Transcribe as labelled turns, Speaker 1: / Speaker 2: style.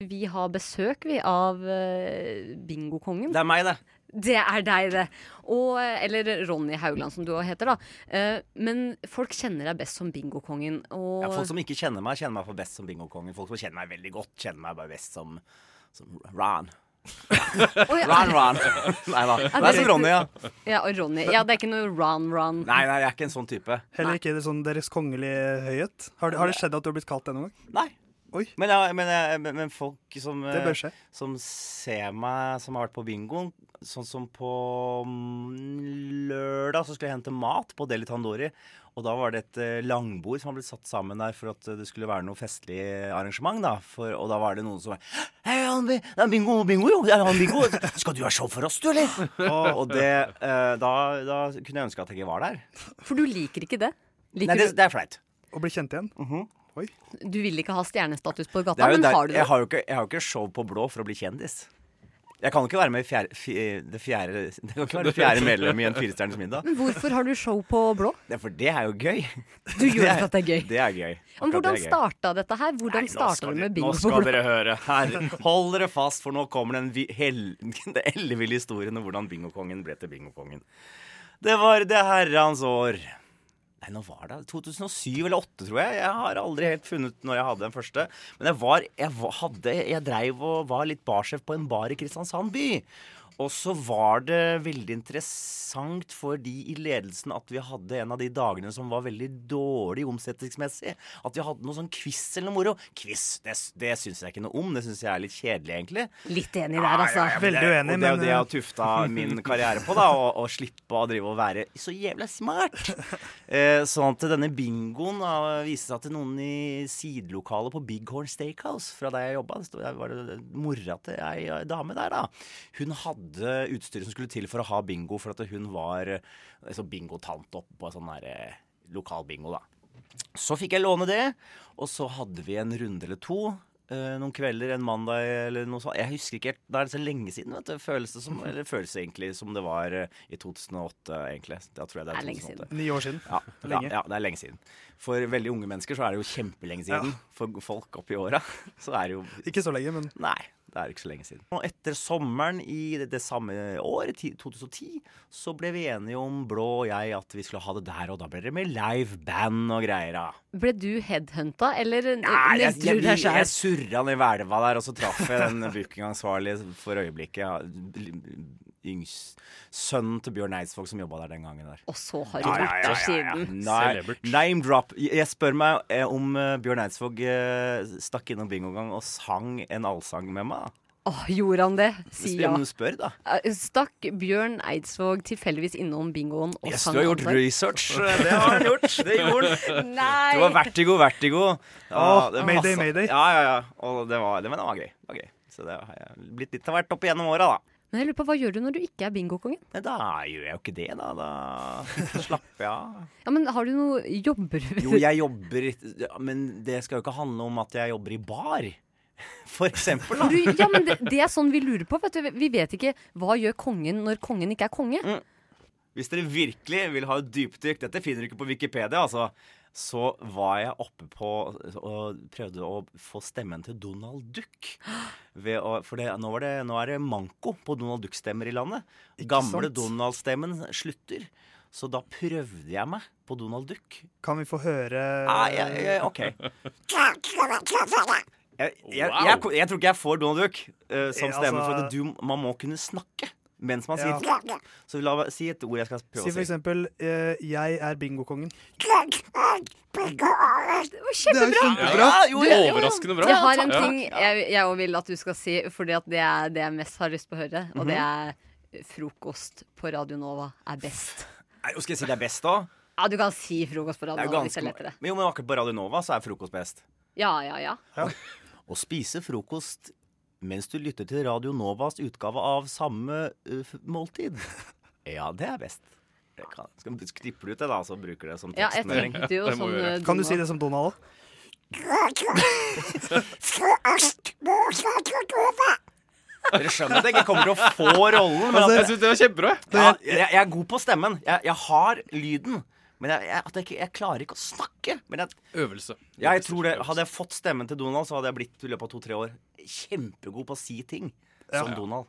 Speaker 1: vi har besøk, vi, av eh, bingokongen.
Speaker 2: Det er meg, det.
Speaker 1: Det er deg, det. Og, eller Ronny Haugland, som du også heter. da Eh, Men folk kjenner deg best som bingokongen. Og
Speaker 2: Ja, folk som ikke kjenner meg, kjenner meg for best som bingokongen. Folk som kjenner meg veldig godt, kjenner meg bare best som, som Ron.
Speaker 1: Oi,
Speaker 2: Ron, Ron. Nei da. Det er som Ronny, ja.
Speaker 1: ja, og Ronny. Ja, det er ikke noe ron-ron.
Speaker 2: Nei, nei, jeg er ikke en sånn type.
Speaker 3: Heller ikke det sånn Deres kongelige høyhet. Har, det- har det skjedd at du har blitt kalt det noen gang?
Speaker 2: Nei.
Speaker 3: Oi.
Speaker 2: Men, jeg, men, jeg, men, men folk som,
Speaker 3: Det
Speaker 2: eh,
Speaker 3: bør skje.
Speaker 2: som ser meg, som har vært på bingoen Sånn som på mm, lørdag så skulle jeg hente mat på Deli Tandori. Og da var det et eh, langbord som var blitt satt sammen der for at eh, det skulle være noe festlig arrangement. da for, Og da var det noen som var Hei, han, bi- det er bingo, bingo, jo! Det er han bingo! Skal du ha show for oss, du, eller? Og, og det, eh, da, da kunne jeg ønske at jeg ikke var der.
Speaker 1: For du liker ikke det. Liker
Speaker 2: Nei, det, det er flaut.
Speaker 3: Å bli kjent igjen?
Speaker 2: Mm.
Speaker 3: Oi.
Speaker 1: du, du vil ikke ha stjernestatus på
Speaker 2: Det
Speaker 1: gata,
Speaker 2: er jo
Speaker 1: men
Speaker 2: der,
Speaker 1: har du det?
Speaker 2: Jeg har jo ikke, jeg har jo ikke show på blå for å bli kjendis. Jeg kan jo ikke være med i fjerde, fi, det fjerde, det kan ikke være det fjerde medlem i en Firestjerners middag.
Speaker 1: Men hvorfor har du show på blå?
Speaker 2: Det, er for det er jo gøy.
Speaker 1: Du gjør det for at det er gøy.
Speaker 2: Det er gøy.
Speaker 1: Men
Speaker 2: Akkurat
Speaker 1: hvordan
Speaker 2: det er gøy.
Speaker 1: starta dette her? Hvordan
Speaker 2: Nei, nå skal
Speaker 1: starta du
Speaker 2: de-
Speaker 1: med bingo
Speaker 2: Nå
Speaker 1: på
Speaker 2: skal
Speaker 1: blå?
Speaker 2: dere høre. Her, hold dere fast, for nå kommer den, vi- hell, den elleville historien om hvordan bingokongen ble til bingokongen. Det var det herrens år Nei, nå var det 2007 eller 2008, tror jeg. Jeg har aldri helt funnet når jeg hadde den første. Men jeg var, jeg var- hadde, jeg dreiv og var litt barsjef på en bar i Kristiansand by. Og så var det veldig interessant for de i ledelsen at vi hadde en av de dagene som var veldig dårlig omsetningsmessig. At vi hadde noe sånn quiz eller noe moro. Quiz, det, det syns jeg ikke noe om. Det syns jeg er litt kjedelig, egentlig.
Speaker 1: Litt enig der, altså.
Speaker 2: Ja, ja, men
Speaker 3: Veldig
Speaker 2: det-
Speaker 3: uenig,
Speaker 2: Og det er jo
Speaker 3: men,
Speaker 2: det jeg
Speaker 3: eh,
Speaker 2: har tufta min karriere på, da. Å å slippe å drive og være så jævla smart. Eh, sånn at denne bingoen da, viste seg til noen i sidelokalet på Bighorn Steakhouse fra der jeg jobba. Det sto- der var det mora til ei eh, dame der, da. Hun hadde utstyret som skulle til for å ha bingo, for at hun var eh, altså, bingotant oppe på sånn der eh, lokal bingo, da. Så fikk jeg låne det, og så hadde vi en runde eller to. eh, noen kvelder, en mandag eller noe sånt. Jeg husker ikke helt. Da er det så lenge siden. vet du. Føles det som, eller føles det egentlig som det var eh, i 2008, egentlig. Da tror jeg det er,
Speaker 1: Det er lenge siden.
Speaker 2: 2008.
Speaker 3: Ni år siden.
Speaker 2: Ja,
Speaker 3: Lenge.
Speaker 2: Ja, ja, det er lenge siden. For veldig unge mennesker så er det jo kjempelenge siden. For folk oppi åra så er det jo
Speaker 3: Ikke så lenge, men
Speaker 2: Nei, det er ikke så lenge siden. Og etter sommeren i det, det samme år, ti- 2010, så ble vi enige om Blå og jeg at vi skulle ha det der, og da ble det med live band og greier. da.
Speaker 1: Ble du headhunta, eller
Speaker 2: Nei, jeg,
Speaker 1: nevnte
Speaker 2: jeg,
Speaker 1: du deg
Speaker 2: jeg,
Speaker 1: sjæl?
Speaker 2: surra ned i hvelva der, og så traff jeg den bookingansvarlige for øyeblikket. Ja, yngst, sønnen til Bjørn Eidsvåg som jobba der den gangen. der
Speaker 1: Og så har du vært der siden.
Speaker 2: Nei,
Speaker 4: Celebert.
Speaker 2: name drop. Jeg jeg spør meg eh, om eh, Bjørn Eidsvåg eh, stakk innom bingogang og sang en allsang med meg. da.
Speaker 1: Åh, gjorde han det? Si
Speaker 2: Spør
Speaker 1: ja.
Speaker 2: om du spør, da.
Speaker 1: Eh, Stakk Bjørn Eidsvåg tilfeldigvis innom bingoen og
Speaker 2: Yes,
Speaker 1: sang
Speaker 2: du har gjort
Speaker 1: allsang?
Speaker 2: research. Det har han gjort. Det gjorde han.
Speaker 1: Nei!
Speaker 2: Det var vertigo, vertigo.
Speaker 3: Åh,
Speaker 2: det
Speaker 3: mayday,
Speaker 2: passa-
Speaker 3: mayday.
Speaker 2: Ja, ja, ja. Og det var, det, men det var gøy. Det var gøy. Så det har jeg blitt litt av hvert opp igjennom åra, da.
Speaker 1: Men jeg lurer på, Hva gjør du når du ikke er bingokongen?
Speaker 2: Nei, da gjør jeg jo ikke det, da. Da slapper jeg av.
Speaker 1: Ja, men har du noe jobber?
Speaker 2: Jo, jeg jobber ja, Men det skal jo ikke handle om at jeg jobber i bar, for eksempel. Da.
Speaker 1: Du, ja, men det, det er sånn vi lurer på. vet du Vi vet ikke hva gjør kongen når kongen ikke er konge.
Speaker 2: Hvis dere virkelig vil ha et dypdykk Dette finner du ikke på Wikipedia, altså. Så var jeg oppe på og prøvde å få stemmen til Donald Duck. Ved å, for det, nå, var det, nå er det manko på Donald Duck-stemmer i landet. Gamle
Speaker 3: sant?
Speaker 2: Donald-stemmen slutter. Så da prøvde jeg meg på Donald Duck. Ah,
Speaker 3: kan vi få høre
Speaker 2: Nei, jeg, jeg, OK. Jeg, jeg, jeg,
Speaker 4: Wow.
Speaker 2: jeg tror ikke jeg får Donald Duck eh, som
Speaker 3: Ja,
Speaker 2: stemme, for at
Speaker 3: altså-
Speaker 2: du, man må kunne snakke mens man
Speaker 3: Ja.
Speaker 2: sier Så la meg si et ord jeg skal prøve
Speaker 3: Si for
Speaker 2: å si.
Speaker 3: eksempel eh, 'Jeg er bingokongen'.
Speaker 1: Det var kjempebra!
Speaker 2: Ja, jo, jeg- jo,
Speaker 4: Overraskende bra.
Speaker 1: Jeg har en
Speaker 4: Ja.
Speaker 1: ting jeg, jeg også vil at du skal si, fordi at det er det jeg mest har lyst på å høre. Og det
Speaker 2: Mhm.
Speaker 1: er frokost på Radio Nova er best.
Speaker 2: Nei, Skal jeg si det er best, da?
Speaker 1: Ja, du kan si frokost på
Speaker 2: Det
Speaker 1: Radio
Speaker 2: er jo
Speaker 1: Nova hvis det
Speaker 2: ganske
Speaker 1: er lettere.
Speaker 2: Men jo, men akkurat på Radio Nova så er frokost best.
Speaker 1: Ja, ja, ja.
Speaker 2: Å spise frokost mens du lytter til Radio Novas utgave av samme eh, f- måltid. Ja, det er best. Det kan- Skal du klippe ut det, da, så bruker du det som
Speaker 1: ja jeg
Speaker 2: tekstmelding?
Speaker 1: tenkte jo
Speaker 4: det må
Speaker 1: sånn
Speaker 4: vi gjøre.
Speaker 1: eh,
Speaker 3: Kan du
Speaker 1: Donald-
Speaker 3: si det som Donald?
Speaker 2: Dere skjønner at jeg ikke kommer til å få rollen, men at Altså,
Speaker 4: Jeg synes det var kjempebra.
Speaker 2: Ja, jeg, jeg er god på stemmen. Jeg, jeg har lyden. Men jeg, jeg, at jeg, ikke- jeg klarer ikke å snakke. Men jeg,
Speaker 4: Øvelse.
Speaker 2: ja, jeg tror det,
Speaker 4: Øvelse.
Speaker 2: Hadde jeg fått stemmen til Donald, så hadde jeg blitt i løpet av to-tre år kjempegod på å si ting som
Speaker 4: Ja.
Speaker 2: Donald.